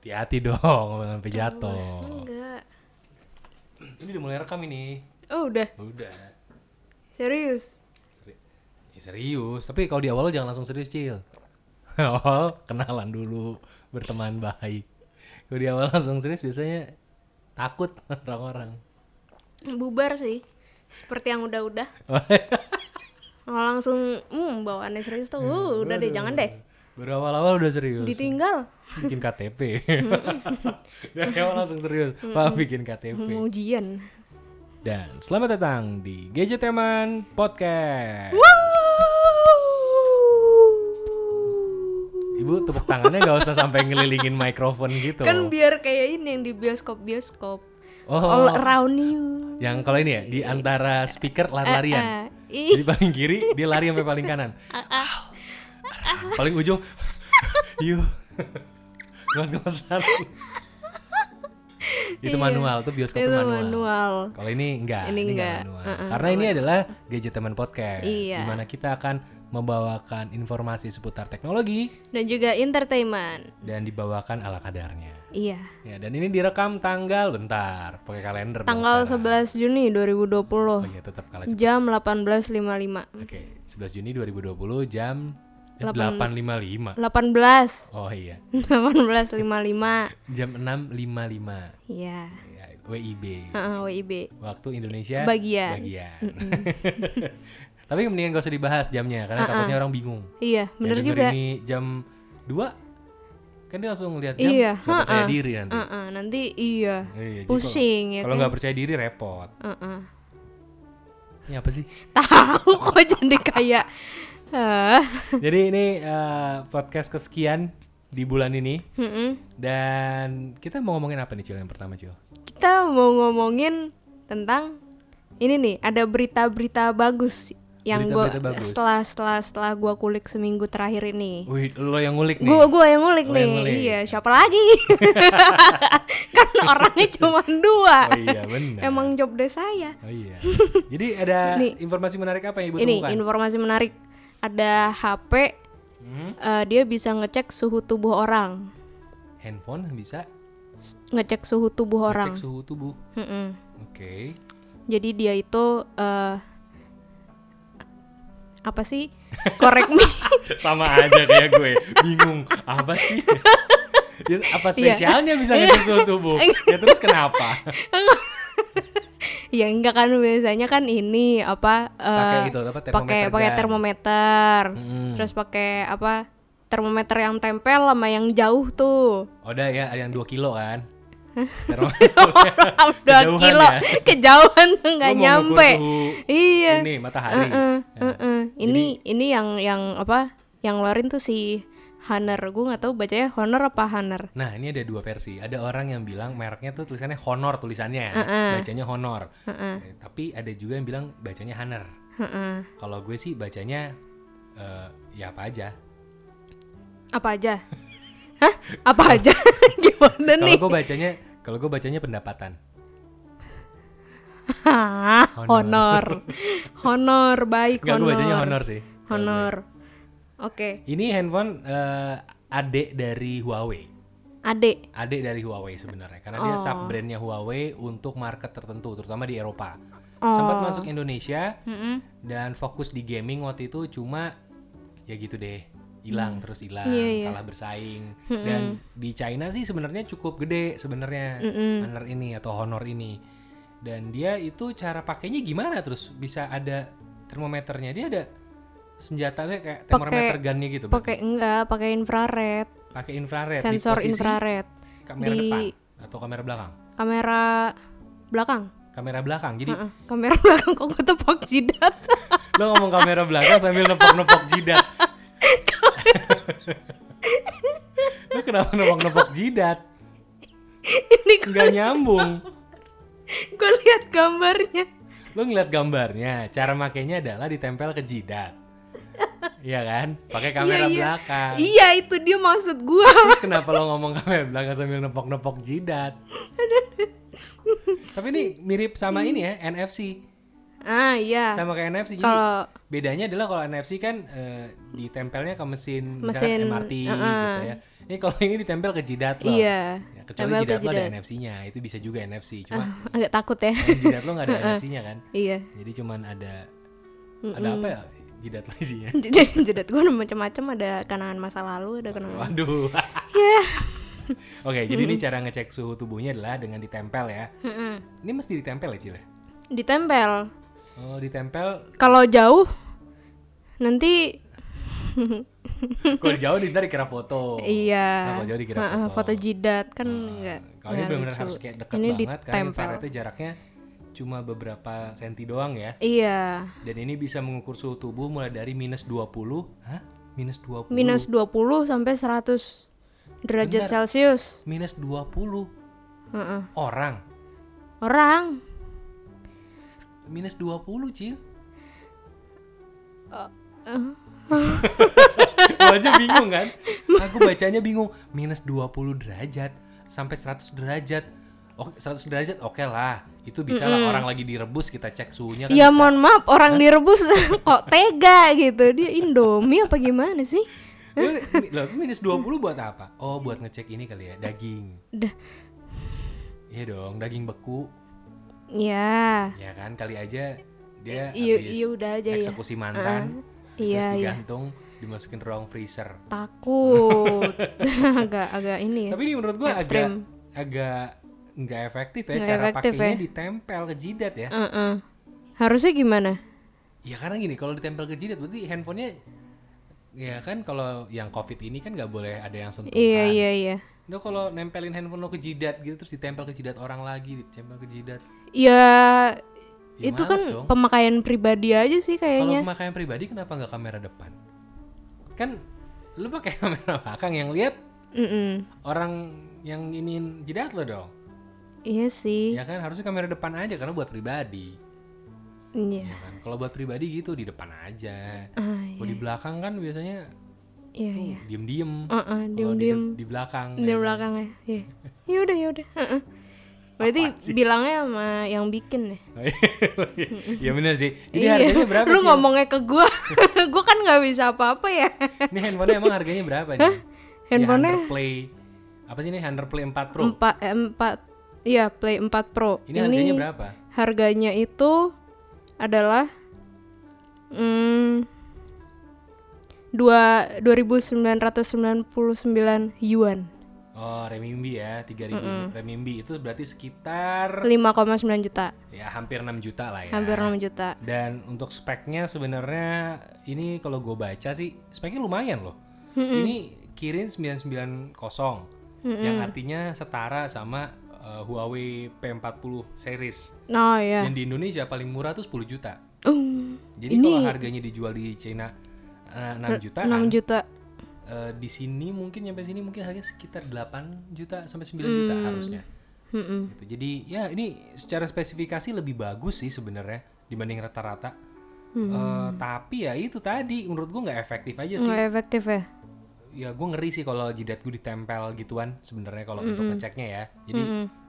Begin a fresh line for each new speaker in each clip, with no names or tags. Hati-hati dong, jangan sampai jatuh.
Enggak.
Ini udah mulai rekam ini.
Oh udah.
Ya Udah.
Serius.
Seri- ya serius, tapi kalau di awal lo jangan langsung serius, Cil. Awal kenalan dulu, berteman baik. Kalau di awal langsung serius biasanya takut orang-orang.
Bubar sih. Seperti yang udah-udah. Kalau langsung hmm bawaannya serius tuh. uh,
Iya,
udah deh jangan deh.
Baru awal-awal udah serius.
Ditinggal.
bikin KTP. Dari awal langsung serius, Pak bikin KTP.
Mau ujian.
Dan selamat datang di Gadgeteman Podcast. Ibu tepuk tangannya gak usah sampai ngelilingin mikrofon gitu.
Kan biar kayak ini yang di bioskop-bioskop.
oh,
All around you.
yang kalau ini ya di antara speaker lari-larian.
Iya, Eh, eh. Ih, Ah,
Jadi paling kiri dia lari sampai paling kanan. paling ujung yuk ngos-ngosan. itu manual, tuh bioskop
Iya. Itu
tuh manual.
manual.
Kalau ini enggak,
Ini
ini, enggak,
enggak.
manual. Karena ini adalah gadget teman podcast,
Iya.
di mana kita akan membawakan informasi seputar teknologi
Dan juga entertainment.
dan dibawakan ala kadarnya.
Iya.
Ya, dan ini direkam tanggal bentar, pakai kalender. dong
Tanggal
sekarang.
11 Juni
Oh
2020.
iya, tetap kalah cepat.
Jam 18.55.
Oke, 11 Juni 2020 jam eh, 8.55.
18.
Oh iya,
18.55.
jam 6.55.
Iya.
Ya, WIB.
Heeh, WIB.
Waktu Indonesia
Bagian.
bagian. Tapi mendingan gak usah dibahas jamnya karena takutnya orang bingung.
Iya,
Ya,
bener
denger
juga.
Ini jam 2 kan dia langsung ngeliat jam
Iya,
nggak percaya diri nanti.
Heeh, nanti iya.
Iya, jadi
Pusing
kalau-
ya
Kalau
kan.
nggak percaya diri repot.
Heeh.
Ini apa sih?
Tahu kok jadi kayak eh
jadi ini eh, podcast kesekian di bulan ini
heeh.
dan kita mau ngomongin apa nih Cil yang pertama Cil?
Kita mau ngomongin tentang ini nih, ada berita-berita bagus yang gua
Berita-berita bagus.
setelah setelah setelah gua kulik seminggu terakhir ini.
Wih, lo yang ngulik nih.
Gua gua yang ngulik
Lo
nih.
yang ngulik.
Iya, siapa lagi? kan orangnya cuma dua.
Oh iya, benar.
Emang job desk saya.
Oh iya. Jadi ada informasi menarik apa yang Ibu
ini
temukan?
informasi menarik ada HP
Hmm?
eh, dia bisa ngecek suhu tubuh orang
Handphone bisa
S- ngecek suhu tubuh orang
cek suhu tubuh.
Mm-mm.
Oke.
jadi dia itu eh, apa sih correct me
Sama aja kayak gue, bingung apa sih? Ya, apa
Iya.
spesialnya bisa ngecek suhu tubuh? ya terus kenapa?
ya enggak kan biasanya kan ini apa eh,
Pakai itu apa
pakai
termometer?
pakai
gun.
termometer
Mm-mm.
terus pakai apa termometer yang tempel sama yang jauh tuh
Oh, udah ya, ada yang 2 kilo kan? Termo-
udah
Kejauhan
kilo
ya?
kejauhan tuh
Lu mau
nggak
ngukur
nyampe
suhu
iya
Ini Ya. matahari.
Heeh, heeh. Ini ini yang yang apa? Yang ngeluarin tuh si Honor. Gue nggak tahu bacanya Honor apa Honor.
Nah, ini ada dua versi. Ada orang yang bilang mereknya tuh tulisannya Honor tulisannya, bacanya Honor. Eh, Tapi ada juga yang bilang bacanya Hanner.
Heeh.
Kalau gue sih bacanya eh, ya apa aja.
Apa aja? Hah? Apa aja? Gimana
Kalau
nih?
gue bacanya, kalau gue bacanya pendapatan.
Hah? Honor. Honor baik
Enggak, gue bacanya
honor.
Honor sih.
Honor. Oke.
Ini handphone eh, adek dari Huawei.
Ade.
Adek dari Huawei sebenarnya karena dia sub brandnya Huawei untuk market tertentu, terutama di Eropa. Sempat masuk Indonesia
Mm-mm.
dan fokus di gaming waktu itu cuma ya gitu deh
Hmm.
hilang terus hilang
Iya,
kalah bersaing dan di China sih sebenarnya cukup gede sebenarnya honor ini atau honor ini dan dia itu cara pakainya gimana terus bisa ada termometernya dia ada senjatanya kayak termometer gunnya gitu Bang.
Pakai enggak, pakai infrared,
pakai infrared Eh, di
sensor
posisi
infrared,
kamera
di-
depan atau kamera belakang
kamera belakang.
kamera belakang jadi
Heeh, kamera belakang kok gue tepak jidat.
lo ngomong kamera belakang sambil nepok-nepok jidat lo kenapa nepok-nepok jidat
Ini
nggak nyambung
gue lihat gambarnya.
lo ngeliat gambarnya cara makainya adalah ditempel ke jidat Iya kan pakai kamera
Iya, iya.
belakang
Iya itu dia maksud gua.
terus kenapa lo ngomong kamera belakang sambil nepok-nepok jidat tapi ini mirip sama ini ya NFC
Ah iya.
sama kayak NFC jadi
Kalau
bedanya adalah kalau NFC kan eh, ditempelnya ke mesin, misalkan
Mesin,
MRT
uh-uh.
gitu ya ini kalau ini ditempel ke jidat lo
iya.
Ya, kecuali
Tempel ke
jidat lo ada
jidat.
NFC-nya itu bisa juga NFC cuma
Agak takut ya.
kan jidat lo nggak ada NFC-nya kan
iya.
jadi cuman ada ada apa ya jidat lo isinya
Jadi jedat gue macam-macam ada kenangan masa lalu, ada kenangan.
waduh
Iya.
oke jadi ini cara ngecek suhu tubuhnya adalah dengan ditempel ya
Mm-mm.
ini mesti ditempel ya Cile
Ditempel.
oh ditempel
Kalau jauh nanti
kalau jauh di- ntar dikira foto nah,
iya.
kalau jauh dikira
Heeh,
foto,
foto jidat kan enggak.
kalau ini benar-benar Nah, harus kayak dekat
ini
banget kan, karena
ditempel.
infrarednya jaraknya cuma beberapa senti doang ya
Iya.
dan ini bisa mengukur suhu tubuh mulai dari minus 20 hah? minus 20
Minus 20 sampai 100 derajat
Bentar.
Celcius.
minus 20
Heeh.
orang
Orang
minus 20 Cil
Oh.
Lo aja bingung kan aku bacanya bingung minus 20 derajat sampai 100 derajat Oke, 100 derajat oke lah itu bisa lah orang lagi direbus kita cek suhunya kan
Ya
bisa.
mohon maaf orang direbus kok tega gitu dia Indomie apa gimana sih?
Loh, mi- Loh, itu minus 20 buat apa? Oh, buat ngecek ini kali ya, daging.
Dah.
Iya dong, daging beku.
Ya.
Ya kan, kali aja dia
I- iya-
habis
iya udah aja ya.
eksekusi mantan.
iya,
terus
iya.
digantung, dimasukin ruang freezer.
Takut. agak agak ini ya.
Tapi ini menurut gua agak
Ekstrim.
agak nggak efektif ya
Nggak
cara
efektif
pakainya
ya.
ditempel ke jidat ya.
Heeh. Harusnya gimana?
Ya karena gini, kalau ditempel ke jidat berarti handphonenya ya kan kalau yang covid ini kan nggak boleh ada yang sentuhan.
Iya iya iya.
Lo kalau nempelin handphone lo ke jidat gitu terus ditempel ke jidat orang lagi, ditempel ke jidat.
Ya
Ya,
itu
males
kan
dong.
pemakaian pribadi aja sih
Kalau
kayaknya.
pemakaian pribadi kenapa nggak kamera depan? Kan lu pakai kamera belakang yang lihat
Mm-mm.
orang yang ingin jidat lo dong.
Iya sih.
Ya kan harusnya kamera depan aja karena buat pribadi.
Iya.
Ya kan? Kalau buat pribadi gitu di depan aja.
Ah,
Kalau di belakang kan biasanya
iya iya.
diem-diem.
Heeh,
Kalau di,
diem diem
de- di belakang.
di
ya kan?
belakang ya. Iya. Ya udah ya udah. Heeh. Berarti bilangnya sama yang bikin ya.
Iya bener sih. Jadi
Iya.
harganya berapa?
Lu
Cil?
ngomongnya ke gua. gua kan nggak bisa apa-apa ya.
Ini handphonenya emang harganya berapa nih? Si
Handphonenya?
Play apa sih ini Play 4 Pro?
Empat eh, empat iya Play 4 Pro.
Ini harganya berapa?
harganya itu adalah mm, dua 2999 yuan.
Oh, renminbi ya, 3000 renminbi itu berarti sekitar
5,9 juta.
ya hampir 6 juta lah ya.
Hampir 6 juta.
Dan untuk speknya sebenarnya ini kalau gue baca sih speknya lumayan loh. Ini Kirin 990 yang artinya setara sama eh, Huawei P40 series.
Oh ya.
Dan di Indonesia paling murah tuh 10 juta.
Um,
Jadi kalau harganya dijual di China eh, 6 juta
6 juta.
Eh, di sini mungkin nyampe sini mungkin harganya sekitar 8 juta sampai 9
Hmm.
juta harusnya.
Mm-mm.
Gitu. Jadi ya ini secara spesifikasi lebih bagus sih sebenarnya dibanding rata-rata.
Hmm.
Eh, tapi ya itu tadi menurut gua nggak efektif aja Iya sih.
Nggak efektif ya.
Ya gue ngeri sih kalau jidat gue ditempel gituan sebenarnya kalau untuk
Hmm.
ngeceknya ya. Jadi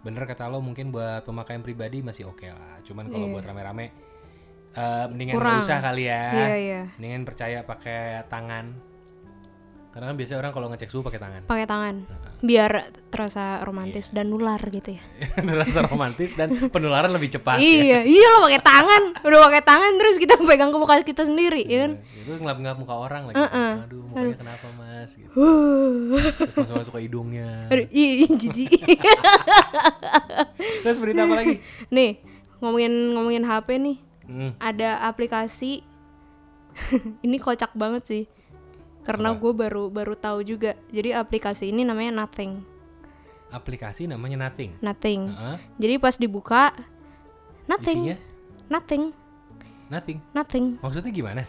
bener kata lo mungkin buat pemakaian pribadi masih oke lah. Cuman kalau buat rame-rame eh, mendingan nggak usah kali ya.
Iya iya.
Mendingan percaya pakai tangan. Karena kan biasanya orang kalau ngecek suhu pakai tangan.
Pakai tangan. Biar terasa romantis
Iya.
dan nular gitu ya.
Terasa romantis dan penularan lebih cepat.
iya, iya lo pakai tangan. Udah pakai tangan terus kita pegang ke muka kita sendiri, ya kan?
Itu Iya, ngelap-ngelap muka orang lagi. Aduh, mukanya kenapa, Mas? Gitu. Terus masuk-masuk ke hidungnya.
Aduh, iya, iya, jijik.
Terus berita apa lagi?
Nih, ngomongin ngomongin HP nih.
Hmm.
Ada aplikasi ini kocak banget sih. Karena gue baru baru tahu juga. Jadi aplikasi ini namanya Nothing.
Aplikasi namanya Nothing.
Nothing.
Heeh.
Jadi pas dibuka Nothing.
Nah. Isinya
Nothing.
Nothing.
Nothing.
Maksudnya gimana?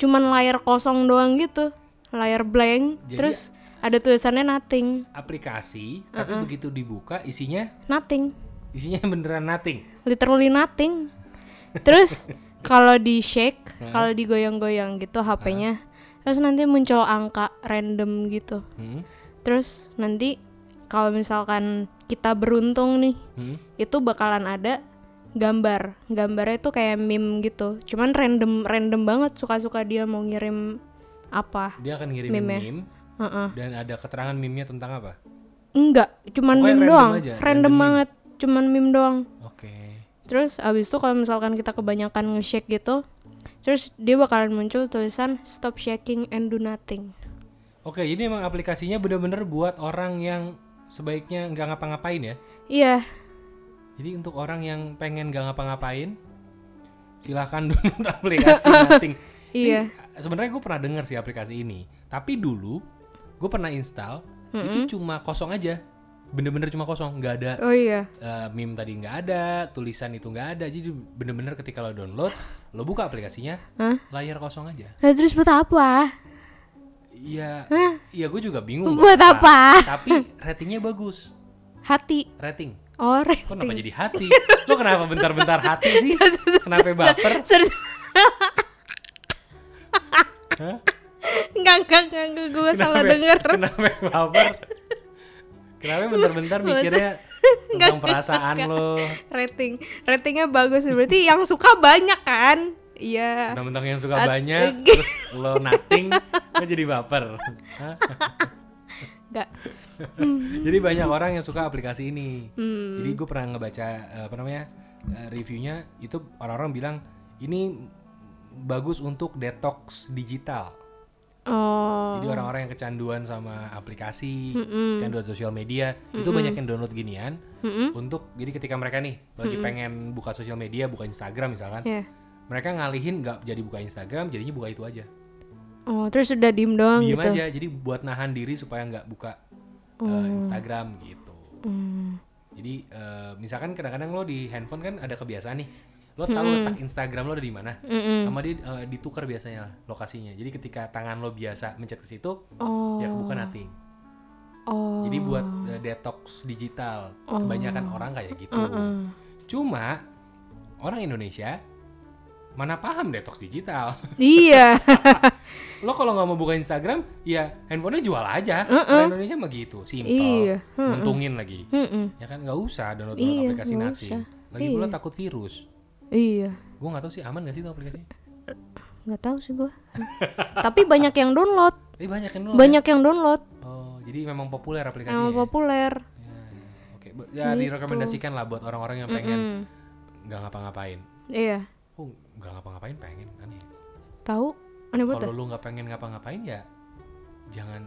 Cuman layar kosong doang gitu. Layar blank.
Jadi-
terus ada tulisannya nothing.
Aplikasi, tapi begitu dibuka isinya
Nothing.
isinya beneran nothing.
literally nothing. Terus kalau di shake, kalau digoyang-goyang gitu HP-nya, terus nanti muncul angka random gitu.
Hmm.
Terus nanti kalau misalkan kita beruntung nih,
Hmm.
itu bakalan ada gambar gambarnya tuh kayak meme gitu cuman random random banget suka-suka dia mau ngirim apa
Dia akan ngirim meme,
Meme-nya. Heeh.
dan ada keterangan meme-nya tentang apa?
enggak cuman
Pokoknya
meme
random
doang
aja,
random,
random meme.
banget cuman meme doang
Oke.
terus abis itu kalau misalkan kita kebanyakan nge-shake gitu terus dia bakalan muncul tulisan stop shaking and do nothing
Oke, ini emang aplikasinya bener-bener buat orang yang sebaiknya nggak ngapa-ngapain ya.
iya
Jadi untuk orang yang pengen nggak ngapa-ngapain, silahkan download aplikasi nothing.
iya
Sebenarnya gue pernah denger sih aplikasi ini, tapi dulu gue pernah install, itu cuma kosong aja, bener-bener cuma kosong, nggak ada
oh iya
eh, meme tadi nggak ada, tulisan itu nggak ada, jadi bener-bener ketika lo download, lo buka aplikasinya,
Hah?
layar kosong aja.
nah terus buat apa
Iya, iya gue juga bingung.
buat apa
Tapi ratingnya bagus,
hati
rating.
oh
Kok kenapa
rating
jadi hati? Lo kenapa bentar-bentar hati sih? Kenapa baper?
Serius.
Hah?
Enggak, enggak, enggak, enggak, gue salah denger
Kenapa baper? Kenapa bentar-bentar mikirnya tentang perasaan lo?
Rating, ratingnya bagus Berarti yang suka banyak kan? Iya
Tentang-tentang yang suka
At-
banyak, terus lo nothing, lo jadi baper. Hah?
Enggak
jadi banyak orang yang suka aplikasi ini.
Hmm.
Jadi gue pernah ngebaca eh, apa namanya eh, reviewnya, itu orang-orang bilang ini bagus untuk detox digital.
Oh
Jadi orang-orang yang kecanduan sama aplikasi, kecanduan sosial media, itu banyak yang download ginian untuk jadi ketika mereka nih lagi pengen buka sosial media, buka Instagram misalkan,
Iya
mereka ngalihin nggak jadi buka Instagram, jadinya buka itu aja.
Oh terus udah diem doang
Diem
gitu Oh.
aja, jadi buat nahan diri supaya nggak buka eh, Instagram gitu.
Mm.
Jadi eh, misalkan kadang-kadang lo di handphone kan ada kebiasaan nih, lo tahu letak Instagram lo ada di mana,
Mm.
sama dia eh, ditukar biasanya lokasinya. Jadi ketika tangan lo biasa mencet ke situ,
Oh
ya kebuka nothing.
Oh
Jadi buat uh, detox digital. Kebanyakan orang kayak gitu. Cuma orang Indonesia mana paham detox digital.
Iya
Lo kalau nggak mau buka Instagram, ya handphonenya jual aja. Orang Indonesia mah gitu, simple.
Iya,
Nguntungin lagi.
Mm-mm.
Ya kan nggak usah download
Iya,
aplikasi
nggak
nanti.
usah.
Lagi pula takut virus.
Iya
Gue nggak tahu sih aman nggak sih itu aplikasi.
Gak tahu sih gue Tapi banyak yang download
Tapi banyak yang download ya?
Banyak yang download
Oh, jadi memang populer aplikasinya.
Yang
ya?
populer
Ya, ya. Oke, Bu- ya
Gitu.
direkomendasikan lah buat orang-orang yang pengen nggak ngapa-ngapain.
Iya
Oh, nggak ngapa-ngapain pengen aneh.
Tahu Aneh banget
Kalau lu nggak pengen ngapa-ngapain ya jangan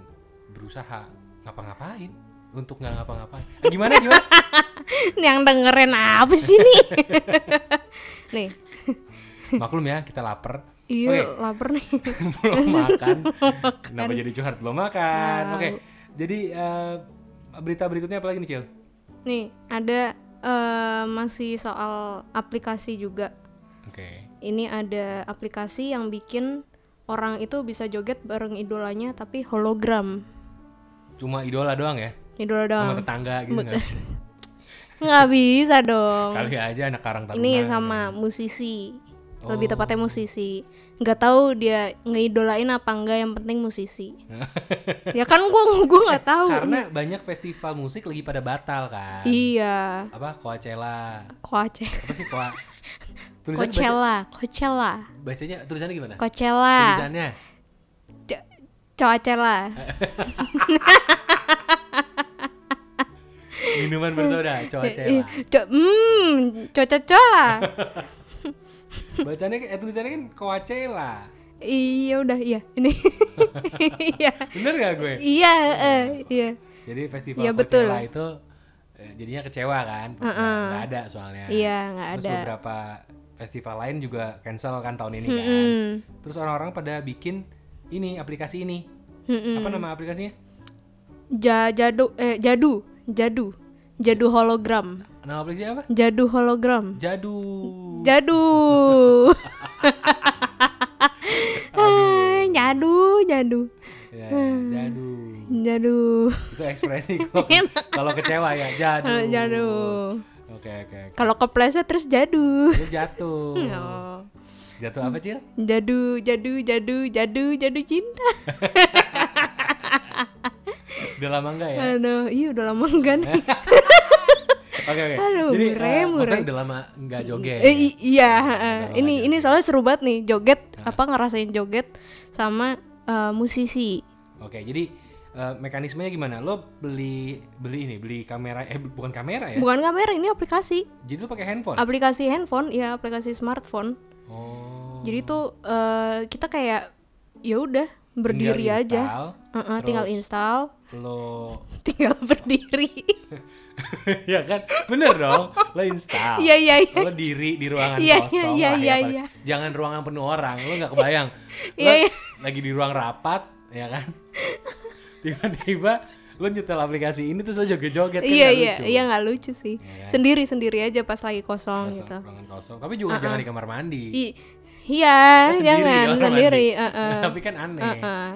berusaha ngapa-ngapain untuk nggak ngapa-ngapain. Ah, gimana gimana?
Ini yang dengerin apa sih nih? nih,
Maklum ya kita lapar.
iya
Oke.
lapar nih.
belum makan. Kenapa jadi curhat belum makan? Oke. Jadi eh, berita berikutnya apa lagi nih Cil?
Nih, ada eh, masih soal aplikasi juga.
Oke.
Ini ada aplikasi yang bikin orang itu bisa joget bareng idolanya tapi hologram.
Cuma idola doang ya
Idola
sama
doang.
tetangga gitu nggak?
Nggak bisa dong.
Kali aja anak karang taruna.
Ini sama musisi.
Oh.
Lebih tepatnya musisi. Nggak tahu dia ngeidolain apa enggak yang penting musisi. ya kan gua gua nggak tahu.
Karena banyak festival musik lagi pada batal kan.
Iya.
Apa Coachella?
Coache.
Apa sih Coa? Tulisannya baca-
Coachella, Coachella,
bacanya tulisannya gimana?
Coachella,
Tulisannya
Co- Coachella.
minuman
Iya.
bersoda, coacela.
Co- Hmm, Coachella.
Bacanya eh tulisannya kan coacela.
Iya udah, iya. Ini. Iya.
Bener gak gue?
Iya, eh, iya.
Jadi festival
Iya, betul.
coacela itu eh, jadinya kecewa kan? Nggak nggak ada soalnya.
Iya, nggak
Terus
ada.
beberapa festival lain juga cancel kan tahun ini kan.
Hmm.
Terus orang-orang pada bikin ini aplikasi ini.
Mm-mm.
Apa nama aplikasinya?
Ja- jadu eh jadu, jadu. Jadu hologram.
Nama aplikasinya apa?
Jadu hologram.
Jadu.
Jadu. Ah, jadu, jadu.
Ya,
Hmm.
jadu.
Jadu.
Itu ekspresi kalau- kalau kecewa ya, jadu.
Jadu.
Oke, oke. oke.
Kalau kepleset terus jadu.
Lu jatuh.
Ya
Oh. Jatuh apa, Cil?
Jadu, jadu, jadu, jadu, jadu cinta.
Udah lama enggak ya?
Aduh, iya udah lama enggak nih.
Oke oke.
Aduh,
Jadi eh,
murai,
Mas Tan
murai.
udah lama nggak joget.
Eh, i- iya, heeh.
lama
ini
aja.
ini soalnya seru banget nih joget apa ngerasain joget sama eh, musisi.
Oke, jadi eh, mekanismenya gimana? Lo beli beli ini, beli kamera eh bukan kamera ya.
Bukan kamera, ini aplikasi.
Jadi lo pakai handphone.
Aplikasi handphone, ya aplikasi smartphone.
oh.
Jadi tuh eh, kita kayak ya udah berdiri
Tinggal
aja.
install,
Heeh, tinggal
terus
install,
Lo
tinggal berdiri.
ya kan? Bener dong. Lo install.
Iya, iya, iya.
Lo diri di ruangan
Iya, iya,
kosong lah
iya,
ya.
iya,
paling-
iya.
Jangan ruangan penuh orang. Lo nggak kebayang. Lo
Iya, iya.
lagi di ruang rapat, ya kan? Tiba-tiba lo nyetel aplikasi ini terus lo joget-joget kan
Iya
nggak
iya
lucu.
iya nggak lucu sih.
Iya kan?
Sendiri sendiri aja pas lagi kosong
Kosong,
gitu.
ruangan kosong. Tapi juga jangan di kamar mandi.
I- iya
Kan sendiri
jangan
di kamar
sendiri.
mandi.
heeh.
Tapi kan aneh.
Heeh.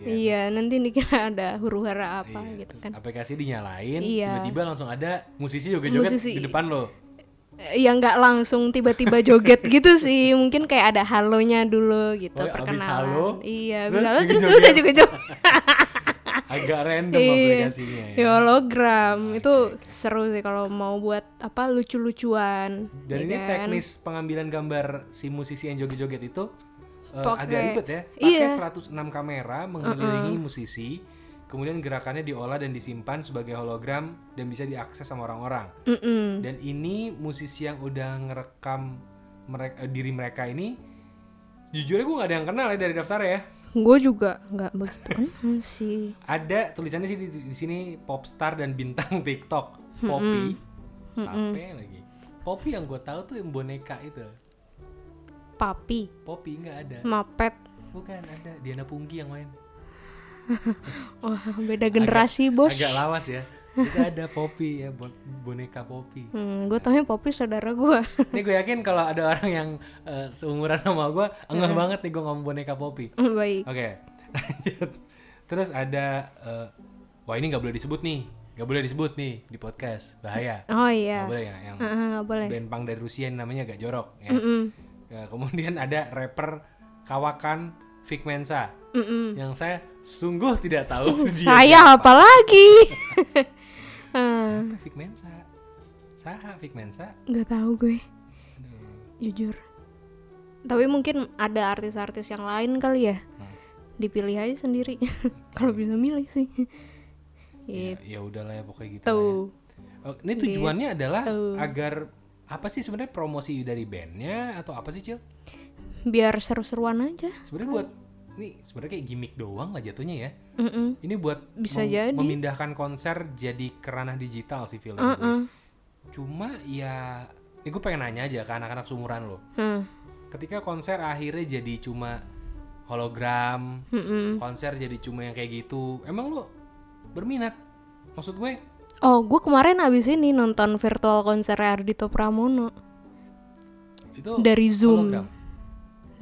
Iya nanti dikira ada huru hara apa
Iya,
gitu
terus
kan.
Aplikasi dinyalain,
Iya.
tiba-tiba langsung ada musisi joget-joget
Musisi.
di depan lo.
Eh, Ya nggak langsung tiba-tiba joget gitu sih. Mungkin kayak ada halonya dulu gitu
Oh, abis
perkenalan.
halo,
iya
terus
abis halo terus
joget-joget.
udah juga joget.
Agak random
Iya.
aplikasinya ya.
Ya, hologram itu seru sih kalau mau buat apa lucu-lucuan.
Dan ini
ya kan?
teknis pengambilan gambar si musisi yang joget-joget itu eh,
Pakai-
agak ribet ya.
Iya.
Pakai 106 kamera mengelilingi musisi, kemudian gerakannya diolah dan disimpan sebagai hologram dan bisa diakses sama orang-orang.
Mm-mm.
Dan ini musisi yang udah ngerekam mereka, diri mereka ini jujurnya gue gak ada yang kenal ya dari daftar ya.
Gue juga nggak begitu kenal sih.
ada tulisannya sih di, di sini popstar dan bintang TikTok Poppy sampai lagi Poppy yang gue tahu tuh yang boneka itu
Papi,
Poppy nggak ada
Mapet.
bukan ada Diana Pungki yang main
Wah, beda generasi, Bos.
agak lawas ya itu ada Poppy ya bon- boneka Poppy
Hmm, gue taunya Poppy saudara gue.
ini gue yakin kalau ada orang yang eh, seumuran sama gue enggak banget nih gue ngomong boneka Poppy
Baik.
Oke, lanjut. Terus ada, eh, wah ini nggak boleh disebut nih, nggak boleh disebut nih di podcast, bahaya.
Oh
Nggak
iya.
boleh ya, yang
Ah, nggak boleh.
band punk dari Rusia yang namanya agak jorok. Ya.
Mm-mm.
Ya, kemudian ada rapper Kawakan Figmensa,
Mm-mm. Uh,
yang saya sungguh tidak tahu dia.
Saya apa lagi?
Siapa Figmensa? Saha Figmensa?
Nggak tahu gue. Jujur. Tapi mungkin ada artis-artis yang lain kali ya.
Hmm.
Dipilih aja sendiri. Kalau bisa milih sih.
Ya, ya udahlah ya pokoknya gitu. lah ya.
Itu.
Oh, ini tujuannya
Gitu.
adalah agar apa sih sebenarnya promosi dari bandnya atau apa sih Cil?
Biar seru-seruan aja.
sebenarnya buat nih sebenarnya kayak gimmick doang lah jatuhnya ya
Mm-mm.
ini buat
Bisa jadi.
memindahkan konser jadi kerana digital sih film
Uh-uh.
cuma ya ini gue pengen nanya aja ke anak-anak seumuran lo
Hmm.
ketika konser akhirnya jadi cuma hologram
Mm-mm.
konser jadi cuma yang kayak gitu emang lo berminat maksud gue
Oh, gue kemarin abis ini nonton virtual konser Ardhito Pramono
itu
dari Zoom,
Oh, hologram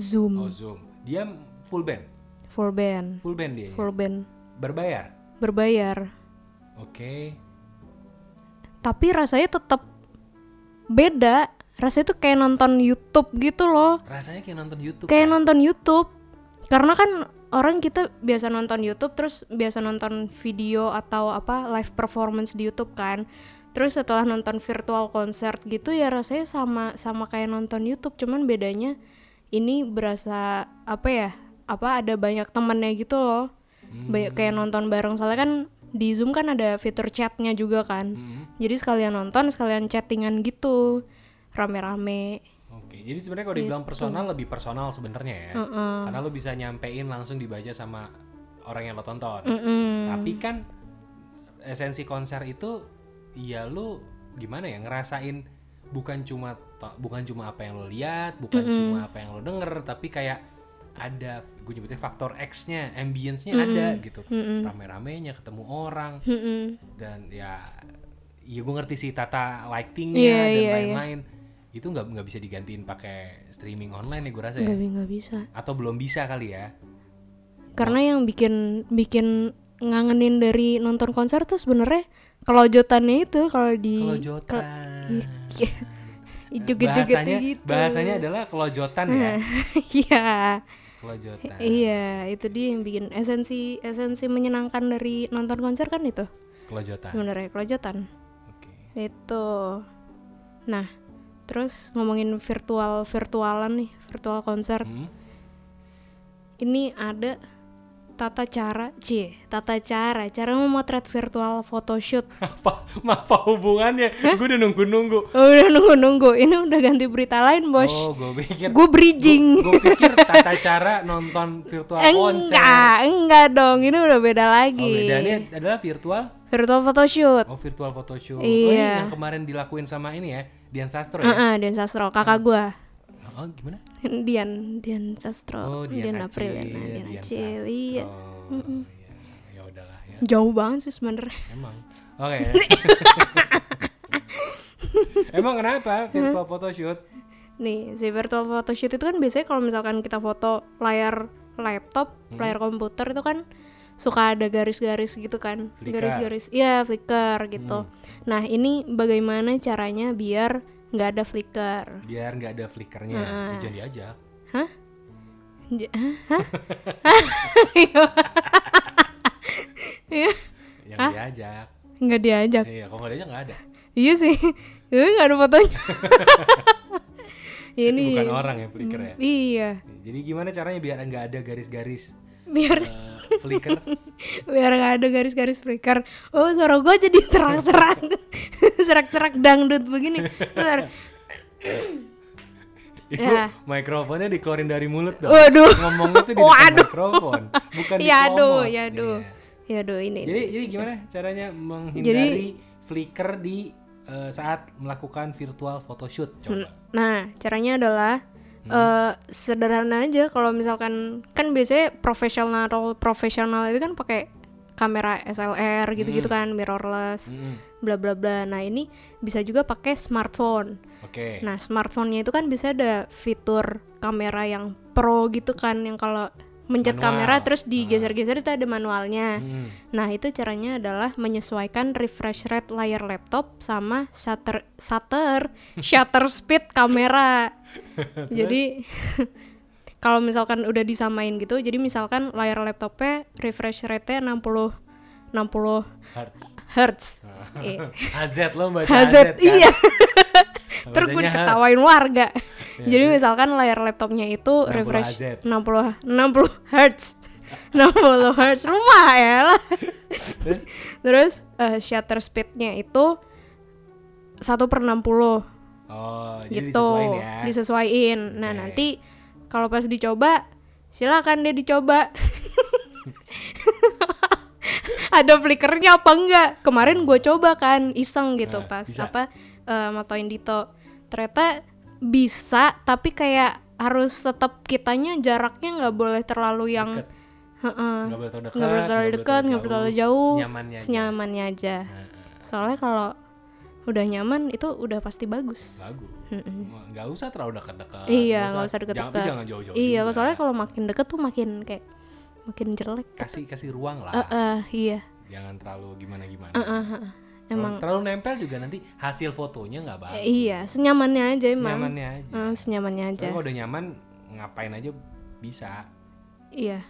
Zoom
oh zoom dia full band
full band,
full band dia ya?
full band
berbayar
berbayar.
oke
Tapi rasanya tetap beda. Rasanya tuh kayak nonton YouTube gitu loh,
rasanya kayak nonton YouTube
kayak nonton YouTube. Karena kan orang kita biasa nonton YouTube, terus biasa nonton video atau apa live performance di YouTube kan. Terus setelah nonton virtual concert gitu ya rasanya sama sama kayak nonton YouTube, cuman bedanya ini berasa apa ya? Apa ada banyak temennya gitu loh. Banyak kayak nonton bareng soalnya kan di Zoom kan ada fitur chatnya juga kan. Jadi sekalian nonton, sekalian chattingan gitu. Rame-rame.
Oke, jadi sebenarnya kalau dibilang personal lebih personal sebenarnya ya, karena lo bisa nyampein langsung dibaca sama orang yang lo tonton. Tapi kan esensi konser itu, ya lo gimana ya ngerasain bukan cuma to- bukan cuma apa yang lo lihat, bukan cuma apa yang lo denger, tapi kayak ada gue nyebutnya faktor X-nya, ambience-nya ada gitu, rame-ramenya ketemu orang
Mm-mm.
dan ya ya gue ngerti sih tata lightingnya
Iya,
dan
iya,
lain-lain itu nggak nggak bisa digantiin pakai streaming online ya gue rasa ya
Nggak bi- nggak bisa.
atau belum bisa kali ya
Karena yang bikin bikin ngangenin dari nonton konser tuh sebenarnya kelojotannya itu kalau di
kelojotan Eh,
Iya. joget-jogetnya
bahasanya
gitu.
bahasanya adalah kelojotan ya
Iya.
kelojotan
Iya, itu dia yang bikin esensi esensi menyenangkan dari nonton konser kan itu
kelojotan
sebenarnya kelojotan.
oke
Itu. Gitu. Nah, terus ngomongin virtual virtualan nih, virtual konser.
Hmm.
Ini ada tata cara, c, tata cara, cara memotret virtual photoshoot.
Apa, ma- apa hubungannya? Gue udah nunggu-nunggu.
Oh, udah nunggu-nunggu, ini udah ganti berita lain bos.
Oh, gue pikir.
Gue bridging.
Gue pikir tata cara nonton virtual konser.
enggak, enggak dong, ini udah beda
Oh,
lagi.
bedanya adalah virtual
Virtual photoshoot.
Oh virtual photoshoot Oh, ini
Iya.
yang kemarin dilakuin sama ini ya Dian Sastro ya
Heeh, Dian Sastro, kakak gua.
Oh gimana?
Dian, Dian
Oh
Sastro,
Dian,
April, ya, nah,
Acil,
Dian, Dian
Sastro
Acil, iya.
Iya, Ya udahlah ya
Jauh banget sih sebenernya.
Emang Oke Emang kenapa virtual photoshoot?
Nih, si virtual photoshoot itu kan biasanya kalau misalkan kita foto layar laptop, layar komputer itu kan suka ada garis-garis gitu kan.
Flicker.
Garis-garis, iya flicker gitu. Nah, ini bagaimana caranya biar nggak ada flicker?
Biar nggak ada flickernya
Ah.
Ya, Jangan diajak
Hah? J- Hah? Iya,
Yang diajak
nggak diajak.
Iya kalau nggak diajak nggak ada
Iya sih, tapi nggak ada fotonya. Iya, ini
Bukan orang ya flicker ya
iya,
Jadi gimana caranya biar nggak ada garis-garis
biar
eh, flicker?
biar nggak ada garis-garis flicker. Oh suara gue jadi serak-serak, serak-serak dangdut begini. Bentar.
Ibu,
Ya.
mikrofonnya dikeluarin dari mulut dong.
Waduh.
Ngomongnya tuh di depan
Waduh.
mikrofon, bukan di
Ya aduh,
komod.
ya aduh,
Iya.
ya aduh ini.
Jadi jadi gimana caranya menghindari flicker di eh, saat melakukan virtual photoshoot coba.
Nah, caranya adalah
Hmm.
eh, sederhana aja kalau misalkan kan biasanya profesional profesional itu kan pakai kamera SLR
Hmm.
gitu-gitu kan mirrorless
Mm-mm.
bla bla bla. Nah, ini bisa juga pakai smartphone.
Oke.
Nah, smartphone-nya itu kan bisa ada fitur kamera yang pro gitu kan yang kalau mencet
Manual.
kamera terus digeser-geser itu ada manualnya.
Mm.
Nah, itu caranya adalah menyesuaikan refresh rate layar laptop sama shutter shutter shutter speed kamera. jadi kalau misalkan udah disamain gitu, jadi misalkan layar laptopnya refresh rate-nya 60 60
Hertz.
hertz.
Ah.
Eh,
AZ lo baca AZ,
Hazard,
kan?
iya.
Bacanya
Terus gue
Hertz.
diketawain warga. Jadi misalkan layar laptopnya itu
60
refresh
AZ.
60 60 hertz. 60 hertz rumah ya lah.
Terus
Terus eh, shutter speednya itu 1 per 60
oh, jadi
gitu
disesuaiin ya.
Disesuaiin. Nah
Oke.
nanti kalau pas dicoba silakan dia dicoba ada flickernya apa enggak kemarin gue coba kan iseng gitu
Nah,
pas
bisa.
apa eh, matoin Dito ternyata bisa tapi kayak harus tetap kitanya jaraknya nggak boleh terlalu yang
Deket.
Heeh.
Nggak boleh terlalu dekat,
nggak boleh terlalu dekat nggak boleh terlalu jauh
Senyamannya aja.
senyamannya aja
Nah,
soalnya kalau udah nyaman itu udah pasti bagus
bagus. Nggak usah terlalu dekat-dekat.
iya nggak usah
Eh, jangan-
deket-deket
tapi jangan jauh-jauh.
iya
juga.
soalnya kalau makin deket tuh makin kayak makin jelek
kasih kasih ruang lah.
Eh, eh, iya Ah,
jangan terlalu gimana gimana
emang
terlalu nempel juga nanti hasil fotonya nggak bagus
eh, iya senyamannya aja emang
nyamannya aja
Eh, senyamannya
Soalnya
aja
kalau udah nyaman ngapain aja bisa
iya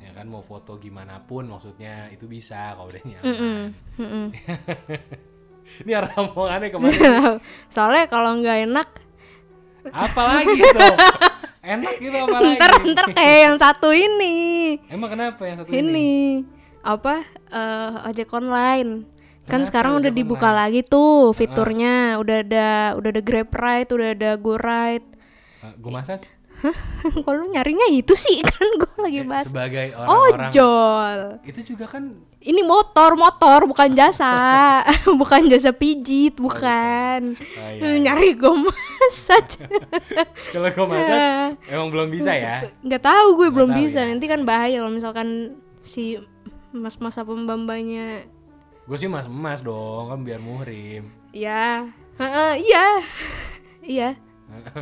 ya kan mau foto gimana pun maksudnya itu bisa kalau udah nyaman
Mm-mm.
ini arah omongannya kemana
soalnya kalau nggak enak
apa lagi tuh enak gitu apa lagi
ntar ntar kayak yang satu ini
emang kenapa yang satu ini,
ini apa eh, ojek online kan
Kenapa
sekarang
ojek
udah
Ah.
dibuka lagi tuh fiturnya udah ada udah ada Grab Ride udah ada Go Ride
gue Eh, masas
kalau lu nyarinya itu sih kan gue lagi bahas
Eh,
Oh,
sebagai orang-orang
ojol
itu juga kan
ini motor motor bukan jasa bukan jasa pijit bukan
iya. Oh, iya,
Lu nyari gue massage
kalau gue masas emang belum bisa ya
nggak tahu gue belum
tahu
bisa
ya.
nanti kan bahaya kalau misalkan si mas-mas apa mbak-mbaknya
gue sih mas emas dong kan biar muhrim
Ya, Heeh, iya, iya,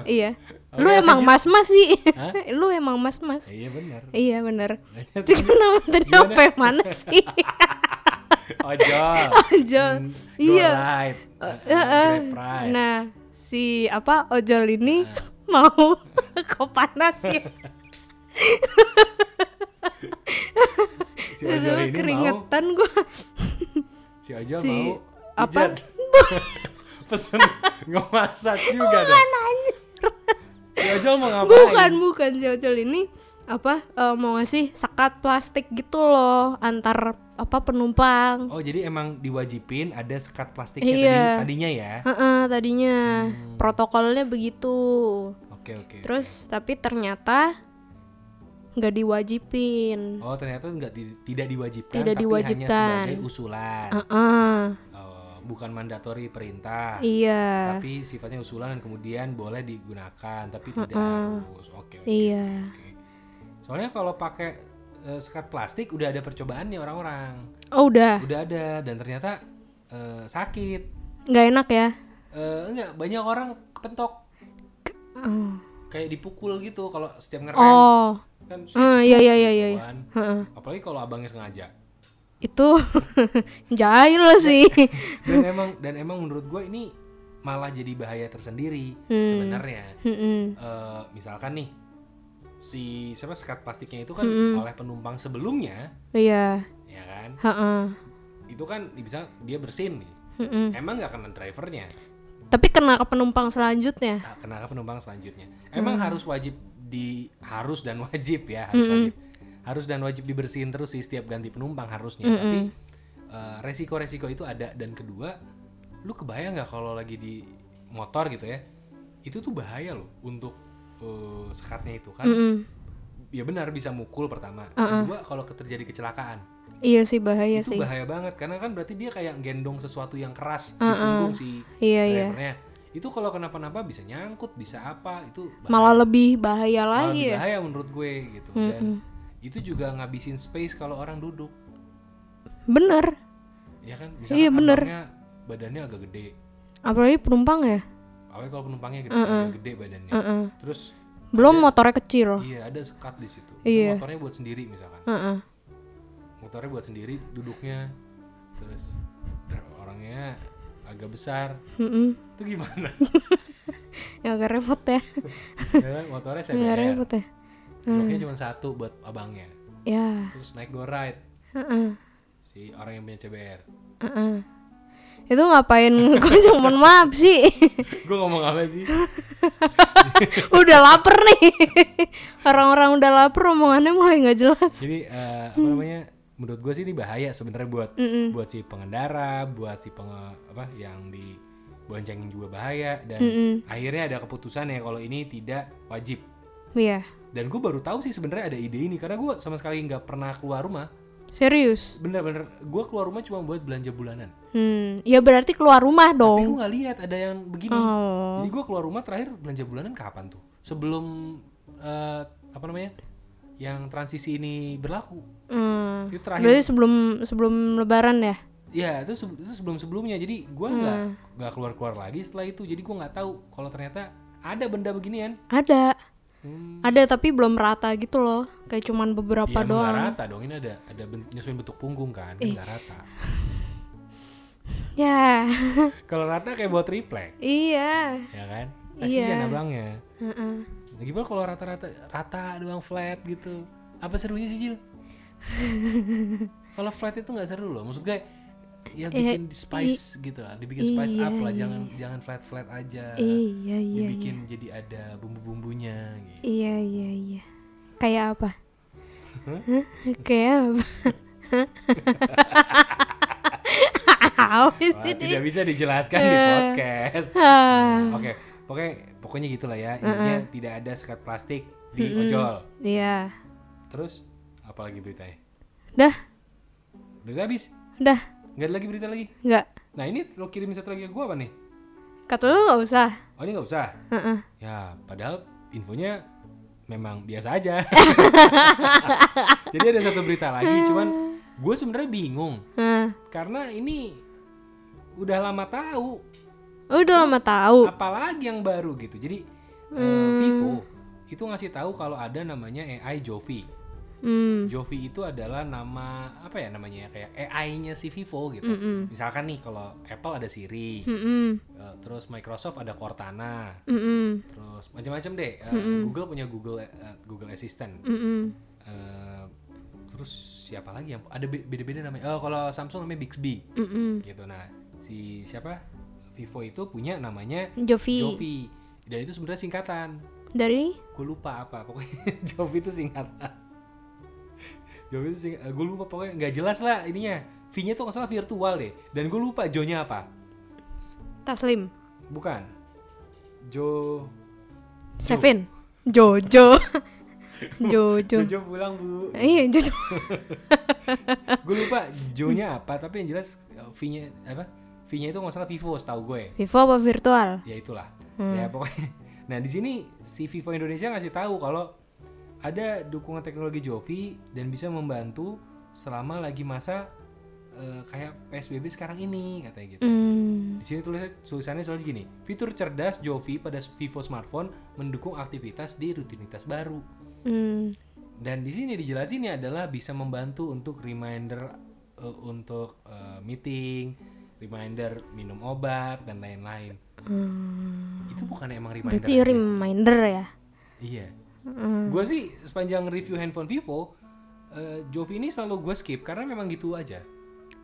iya.
Oh,
Lu emang mas mas sih, lu emang mas mas.
iya benar
Iya bener. Itu kenapa tadi apa yang mana sih?
ojol Hmm,
Ojol. Iya.
right
Heeh.
grab right
Nah, si apa ojol ini mau kau panasin.
si ojol
Aduh,
ini mau
keringetan gua. Kan
si ojol
Si
mau
apa?
pijat.
ribu
pesen nggak masak juga dong
bukan anjir
si ojol mau ngapain
bukan bukan si ojol ini apa eh, mau ngasih sekat plastik gitu loh antar apa penumpang
oh jadi emang diwajibin ada sekat plastiknya
Iya.
tadi, tadinya ya
Heeh, tadinya protokolnya begitu
oke oke
terus tapi ternyata nggak diwajibin
oh ternyata nggak di- tidak diwajibkan
Tidak
tapi hanya
diwajibkan.
sebagai usulan
Heeh,
Oh, bukan mandatori perintah
iya
tapi sifatnya usulan dan kemudian boleh digunakan tapi tidak harus oke oke
iya
oke. soalnya kalau pakai eh, sekat plastik udah ada percobaannya orang-orang
oh udah
udah ada dan ternyata eh, sakit
nggak enak ya
Eh, enggak banyak orang kepentok
oh
kayak dipukul gitu kalau setiap ngerem
oh
kan
eh, iya iya iya iya
kan.
Heeh.
apalagi kalau abangnya sengaja
itu jahil sih
dan emang dan emang menurut gue ini malah jadi bahaya tersendiri
Hmm.
sebenarnya
Mm-mm.
Eh, misalkan nih si siapa sekat plastiknya itu kan
Hmm.
oleh penumpang sebelumnya
iya
ya kan
Heeh.
itu kan bisa dia bersin nih
Mm-mm.
emang nggak kena drivernya
tapi kena ke penumpang selanjutnya
nah, kena ke penumpang selanjutnya emang harus wajib di harus dan wajib ya harus wajib harus dan wajib dibersihin terus sih setiap ganti penumpang harusnya tapi eh, resiko-resiko itu ada dan kedua lu kebayang nggak kalau lagi di motor gitu ya itu tuh bahaya loh untuk eh, sekatnya itu kan
Mm-mm.
ya benar bisa mukul pertama kedua kalau ke- terjadi kecelakaan
iya sih bahaya
itu
sih
bahaya banget karena kan berarti dia kayak gendong sesuatu yang keras di punggung si
Iya, iya.
drivernya itu kalau kenapa-napa bisa nyangkut bisa apa itu bahaya.
malah lebih bahaya
Malah lebih
lagi ya
bahaya menurut gue gitu dan itu juga ngabisin space kalau orang duduk
bener
ya kan
Iya, bener.
abangnya badannya agak gede
apalagi penumpang ya
apalagi kalau penumpangnya gede, agak gede badannya
Heeh.
terus
belum motornya kecil
iya ada sekat di situ
Iya.
motornya buat sendiri misalkan
Heeh.
motornya buat sendiri duduknya terus orangnya agak besar
Mm-mm.
itu gimana
ya agak repot ya
ya kan motornya
agak
CBR
repot ya
joknya cuma satu buat abangnya
ya
terus naik go ride
Heeh.
si orang yang punya CBR
Heeh. itu ngapain gue cuma maaf sih
gue ngomong apa sih
udah lapar nih orang-orang udah lapar omongannya mulai nggak jelas
jadi eh, apa namanya menurut gue sih ini bahaya sebenarnya buat buat si pengendara buat si penge, apa yang di boncengin juga bahaya dan akhirnya ada keputusan ya kalau ini tidak wajib
iya
dan gue baru tahu sih sebenarnya ada ide ini karena gue sama sekali nggak pernah keluar rumah
serius
bener-bener gue keluar rumah cuma buat belanja bulanan
hmm ya berarti keluar rumah
tapi
dong
gue nggak lihat ada yang begini
oh
Jadi gue keluar rumah terakhir belanja bulanan kapan tuh? Sebelum eh, apa namanya? Yang transisi ini berlaku.
Hmm.
Itu terakhir.
berarti sebelum sebelum lebaran ya
Ya itu, se- itu sebelum sebelumnya. Jadi gue
Hmm.
nggak nggak keluar keluar lagi setelah itu. Jadi gue nggak tahu kalau ternyata ada benda beginian.
ada
Hmm.
ada tapi belum rata gitu loh kayak cuman beberapa
Ya, emang nggak
doang
rata dong ini ada ada ben- nyesuaiin bentuk punggung kan kan nggak rata.
ya
Kalau rata kayak buat triplek,
iya
ya kan?
Iya.
Kasihan abangnya.
Heeh.
Lagi pula kalau rata-rata rata doang flat gitu. Apa serunya sih, Jil? kalau flat itu nggak seru loh. Maksud gue
Iya,
ya bikin spice gitu lah, dibikin spice up lah, jangan jangan flat-flat aja.
iya iya
Dibikin jadi ada bumbu-bumbunya gitu.
iya iya iya kayak apa Hah? kayak apa Apa
Wah,
sih, Dek?
tidak bisa dijelaskan di podcast.
Eh. Ah,
Oke, pokoknya pokoknya gitulah ya. Intinya tidak ada sekat plastik di ojol.
iya
Terus apalagi beritanya?
dah
Berita habis.
dah
Nggak ada lagi berita lagi.
nggak
Nah, ini lo kirim satu lagi ke gua apa nih?
kata lu nggak usah
Oh, ini nggak usah.
Heeh.
Ya, padahal infonya memang biasa aja. Jadi ada satu berita lagi, cuman gue sebenarnya bingung
Heeh.
karena ini udah lama tahu,
udah lama tahu
apalagi yang baru gitu. Jadi eh, Vivo itu ngasih tahu kalau ada namanya AI Jovi.
hmm
Jovi itu adalah nama apa ya namanya ya, kayak AI-nya si Vivo gitu. Misalkan nih kalau Apple ada Siri,
Mm-mm.
eh, terus Microsoft ada Cortana,
Mm-mm.
terus macam-macam deh. Eh, Google punya Google eh, Google Assistant.
Mm-mm.
Eh, terus siapa Eh,
hmm,
lagi yang ada be- beda-beda namanya? Oh, kalau Samsung namanya Bixby
Mm-mm.
gitu. Nah, si siapa? Vivo itu punya namanya
Jovi.
Jovi dan itu sebenarnya singkatan
Dari
gue lupa apa pokoknya Jovi itu singkatan Jovi itu sing gue lupa pokoknya nggak jelas lah ininya V-nya tuh nggak salah virtual deh dan gue lupa Jo-nya apa
Taslim,
bukan Jo
Sevin, Jojo, Jojo.
Jojo pulang bu
Iya, Jojo.
gue lupa Jo-nya apa tapi yang jelas eh, V-nya apa V-nya itu nggak salah Vivo setahu gue
Vivo apa virtual?
ya itulah ya pokoknya nah di sini si Vivo Indonesia ngasih tahu kalau ada dukungan teknologi Jovi dan bisa membantu selama lagi masa eh, kayak PSBB sekarang ini katanya gitu
Hmm.
di sini tulisnya tulisannya soalnya gini fitur cerdas Jovi pada Vivo smartphone mendukung aktivitas di rutinitas baru
Hmm.
dan di sini dijelasinnya adalah bisa membantu untuk reminder eh, untuk eh, meeting reminder minum obat dan lain-lain itu bukan emang reminder
Berarti Hmm.
aja?
reminder ya.
Iya. Gue sih sepanjang review handphone Vivo, eh, Jovi ini selalu gue skip karena memang gitu aja.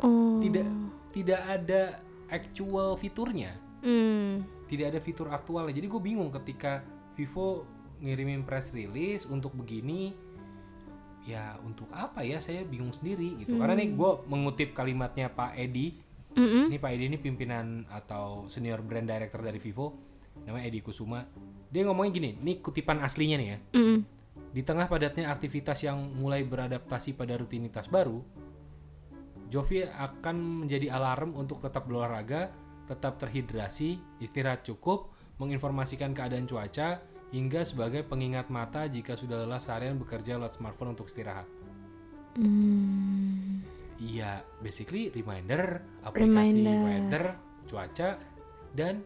Oh.
Tidak tidak ada actual fiturnya,
Hmm.
tidak ada fitur aktualnya. Jadi gue bingung ketika Vivo ngirimin press release untuk begini, ya untuk apa ya? Saya bingung sendiri gitu. Karena nih gue mengutip kalimatnya Pak Edi
Mm-mm.
ini Pak Edi ini pimpinan atau senior brand director dari Vivo, namanya Edi Kusuma. Dia ngomongnya gini, ini kutipan aslinya nih ya.
Mm-mm.
Di tengah padatnya aktivitas yang mulai beradaptasi pada rutinitas baru, Jovi akan menjadi alarm untuk tetap berolahraga, tetap terhidrasi, istirahat cukup, menginformasikan keadaan cuaca, hingga sebagai pengingat mata jika sudah lelah seharian bekerja lewat smartphone untuk istirahat.
Hmm.
Iya, basically reminder, aplikasi
Reminder.
reminder, cuaca dan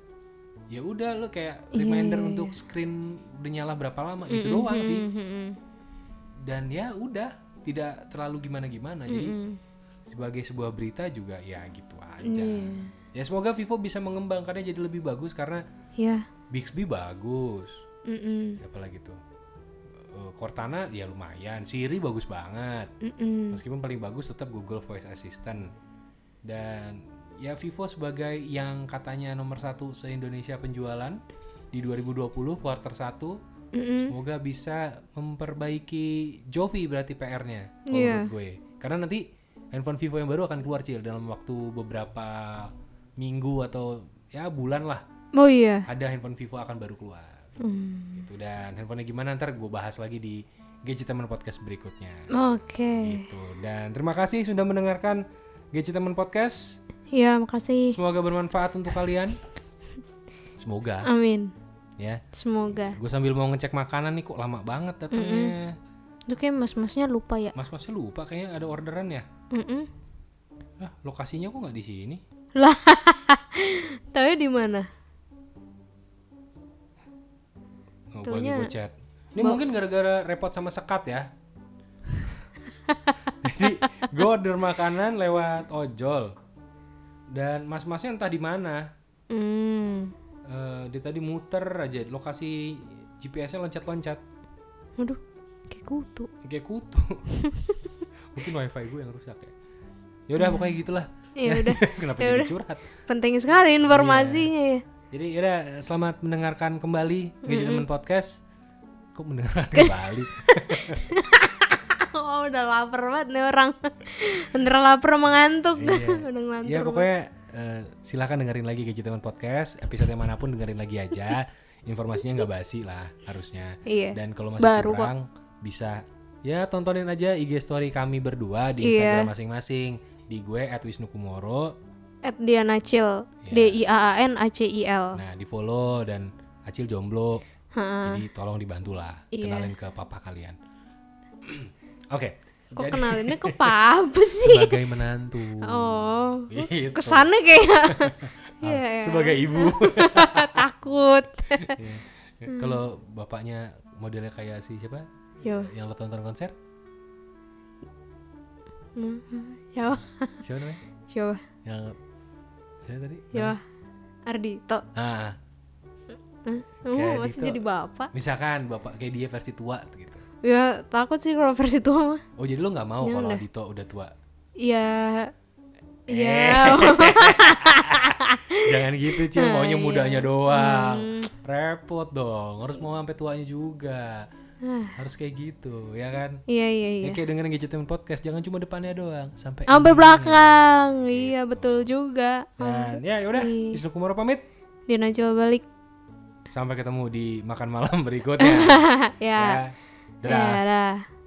ya udah lo kayak reminder
iya,
untuk screen udah nyala berapa lama itu doang sih.
Mm-mm.
Dan ya udah, tidak terlalu gimana-gimana. Jadi sebagai sebuah berita juga ya gitu aja. Ya semoga Vivo bisa mengembangkannya jadi lebih bagus karena
Ya.
Bixby bagus,
Mm-mm.
apalagi tuh. Eh, Cortana ya lumayan, Siri bagus banget.
Mm-mm.
Meskipun paling bagus tetap Google Voice Assistant. Dan ya Vivo sebagai yang katanya nomor satu se-Indonesia penjualan di 2020 quarter 1
Mm-mm.
semoga bisa memperbaiki Jovi berarti PR-nya kalau
Iya.
menurut gue. Karena nanti handphone Vivo yang baru akan keluar cil dalam waktu beberapa minggu atau ya bulan lah
Oh iya.
ada handphone Vivo akan baru keluar.
Hmm.
Gitu dan handphonenya gimana ntar gue bahas lagi di Gadget Teman Podcast berikutnya
Oke.
gitu dan terima kasih sudah mendengarkan Gadget Teman Podcast
Ya, makasih.
semoga bermanfaat untuk kalian semoga
Amin.
ya
Semoga.
gue sambil mau ngecek makanan nih kok lama banget datangnya
Itu kayak mas-masnya lupa ya.
mas masnya lupa kayaknya ada orderan ya
Mm-mm.
Lah, lokasinya kok nggak di sini
Lah. Tahu di mana?
oh, gue lagi
Taunya-
gua chat ini mungkin gara-gara repot sama sekat ya jadi gue order makanan lewat ojol dan mas-masnya entah di mana
Hmm.
Eh, dia tadi muter aja lokasi GPS-nya loncat-loncat
Aduh, kayak kutu.
kayak kutu mungkin wifi gue yang rusak ya ya udah pokoknya gitulah
Ya udah.
kenapa
Iya. Ya
jadi
udah.
curhat
Penting sekali
Iya.
informasinya ya.
jadi yaudah selamat mendengarkan kembali Gadget Teman Podcast kok mendengarkan kembali
Oh, udah lapar banget nih orang. Bener lapar mengantuk. udah ngantuk.
ya pokoknya eh, silahkan dengerin lagi Gadget Teman Podcast episode yang manapun dengerin lagi aja informasinya nggak basi lah harusnya
Iya.
dan kalau masih
Baru kok.
kurang bisa ya tontonin aja IG story kami berdua di
Iya.
Instagram masing-masing di gue @wisnukumoro
At Diana Cil.
Iya.
D I A A N A C I L.
Nah, di follow dan Acil jomblo.
Ha-ha.
Jadi tolong dibantulah
Iya.
kenalin ke papa kalian. Oke.
Kok
Jadi
kenalinnya ke papa sih?
sebagai menantu.
Oh.
Gitu.
Kesannya kayak
Ah,
Iya, ya.
Sebagai ibu.
takut.
Iya.
Hmm.
Kalau bapaknya modelnya kayak si siapa?
Yo.
Yang lo tonton konser?
Yo.
Siapa namanya?
Yo.
Yang saya tadi?
Yo. Ardito.
Nah,
Oh,
Kayak
masih
Dito.
jadi bapak.
misalkan bapak kayak dia versi tua gitu.
Ya, takut sih kalau versi tua mah.
Oh, jadi lo nggak mau
Jangan
kalau
dah. Iya.
Dito udah tua.
Ya.
Eh.
Ya.
Jangan gitu Cil, maunya mudanya
Hmm.
doang. Repot dong, harus mau sampai tuanya juga. harus kayak gitu, ya kan?
Iya iya
Ya
iya.
kayak dengerin gadgetin podcast, jangan cuma depannya doang, sampai
Sampai belakang. Iya betul juga.
Dan ya yaudah,
Iya.
Isnu Kumoro pamit.
Dia najil balik.
Sampai ketemu di makan malam berikutnya.
ya.
ya. Dadah.
Ya, dah.